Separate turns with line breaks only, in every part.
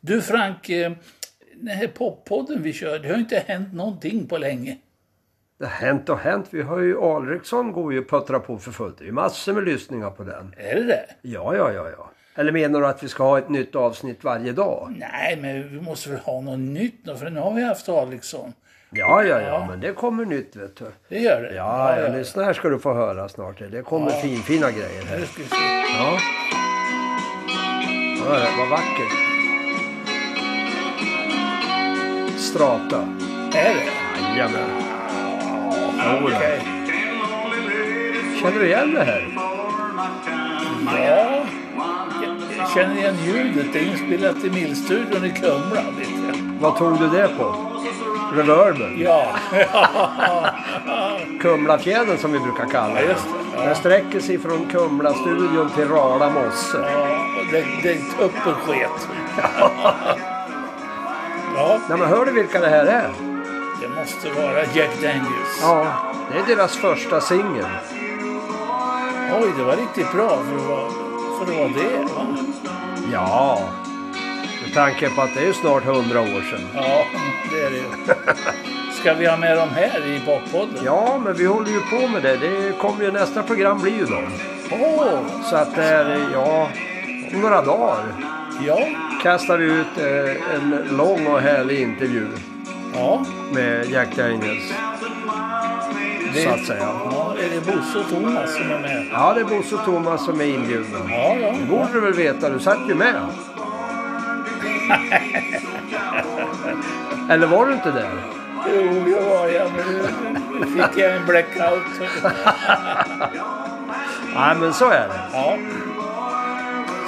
Du Frank, eh, den här poppodden vi kör, det har ju inte hänt någonting på länge.
Det har hänt och hänt. Vi har ju Alriksson går ju och puttrar på för fullt. Det är ju massor med lyssningar på den.
Är det det?
Ja, ja, ja, ja. Eller menar du att vi ska ha ett nytt avsnitt varje dag?
Nej, men vi måste väl ha något nytt då, för nu har vi haft Alriksson.
Ja, ja, ja,
Ja.
men det kommer nytt vet du.
Det gör det.
Ja, ja, lyssna här ska du få höra snart. Det kommer
Ja.
finfina grejer här.
Nu ska vi se.
Ja. ja det var vackert. Strata.
Är det?
Jajamän.
Ja,
Jodå.
okej.
Känner du igen det här?
Ja, jag känner igen ljudet. Det är inspelat i Millstudion i Kumla. Vet jag.
Vad tog du det på? Reverben?
Ja,
Kumlafjädern som vi brukar kalla
Ja,
den.
just det. Ja.
Den sträcker sig från Kumlastudion till Rala mosse.
ja, det, det är upp och sket. Ja,
Nej, men hör du vilka det här är?
det måste vara Jack Daniels.
Ja. Det är deras första singel.
Oj, det var riktigt bra för att vara, för att vara det. Va?
Ja. Med tanke på att det är ju snart hundra år sedan.
Ja, det är det ju. Ska vi ha med dem här i Bakpodden?
Ja, men vi håller ju på med det. det kommer ju, nästa program blir ju dem.
Åh,
Så att det är, ja, om några dagar
ja,
kastar vi ut eh, en lång och härlig intervju
ja.
med Jack Daniels,
Det,
så att säga.
ja, är det Bosse och Thomas som är med?
Ja, det är Bosse och Thomas som är inbjudna.
Ja, ja.
Det borde du väl veta, du satt ju med. Eller var du inte där?
Jo, jag var jag, men nu fick jag en blackout.
Nej, men så är det.
Ja,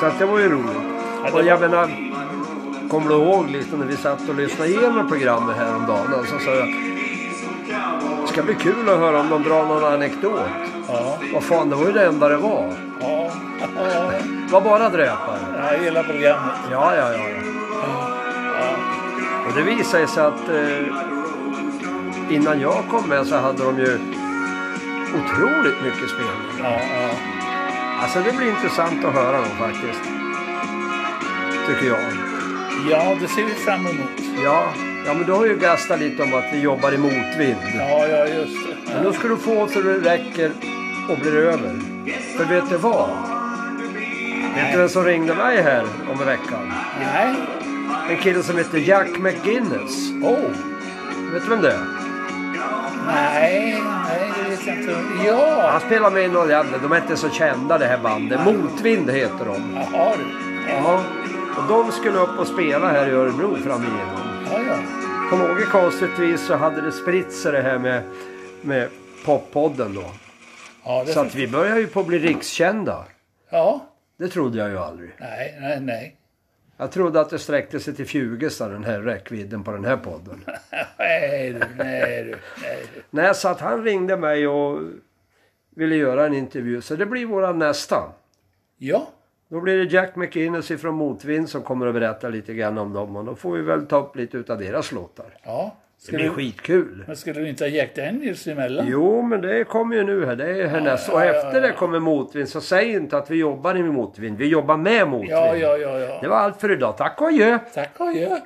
Så att det var ju roligt. Och jag menar, kommer du ihåg liksom när vi satt och lyssnade igenom programmet häromdagen? Och så sa jag, det ska bli kul att höra om de drar någon anekdot.
ja,
Vad fan, det var ju det enda det var.
ja, ja.
Det var bara dräpare.
ja hela programmet.
Ja, ja, ja. ja. Och det visade sig att eh, innan jag kom med så hade de ju otroligt mycket spelningar.
Ja, ja.
Alltså det blir intressant att höra dem faktiskt. Tycker jag.
ja, det ser vi fram emot.
Ja, ja men du har ju gastat lite om att vi jobbar i motvind.
Ja, ja, just det.
Men då ska du få så det räcker och blir över. För vet du vad? Vet du vem som ringde mig här om en veckan?
Nej.
En kille som heter Jack McGinnis.
Oh.
Vet du vem det är?
Nej, nej, det vet jag inte.
Han
Ja!
spelar med i någon jävla... De är inte så kända det här bandet. Motvind heter de.
Jaha du.
Ja. Och de skulle upp och spela här i Örebro framigenom.
Ja, ja.
På något konstigt vis så hade det spritt sig det här med, med poppodden då.
Ja, det
Så att vi börjar ju på att bli rikskända.
ja.
Det trodde jag ju aldrig.
Nej, nej, nej.
Jag trodde att det sträckte sig till Fjugesta, den här räckvidden på den här podden.
Nej du, nej du, nej du.
Nej, så att han ringde mig och ville göra en intervju. Så det blir våran nästa.
Ja,
Då blir det Jack McInnes ifrån Motvind som kommer att berätta lite grann om dem. Och då får vi väl ta upp lite utav deras låtar.
ja.
Det
Skulle,
blir skitkul.
men skulle du inte ha Jack Daniels emellan?
Jo, men det kommer ju nu här. Det är härnäst. Och
ja, ja,
efter det kommer Motvind. Så säg inte att vi jobbar i Motvind. Vi jobbar med Motvind.
Ja, ja, ja,
Det
ja.
var allt för idag. Tack och adjö!
Tack och adjö.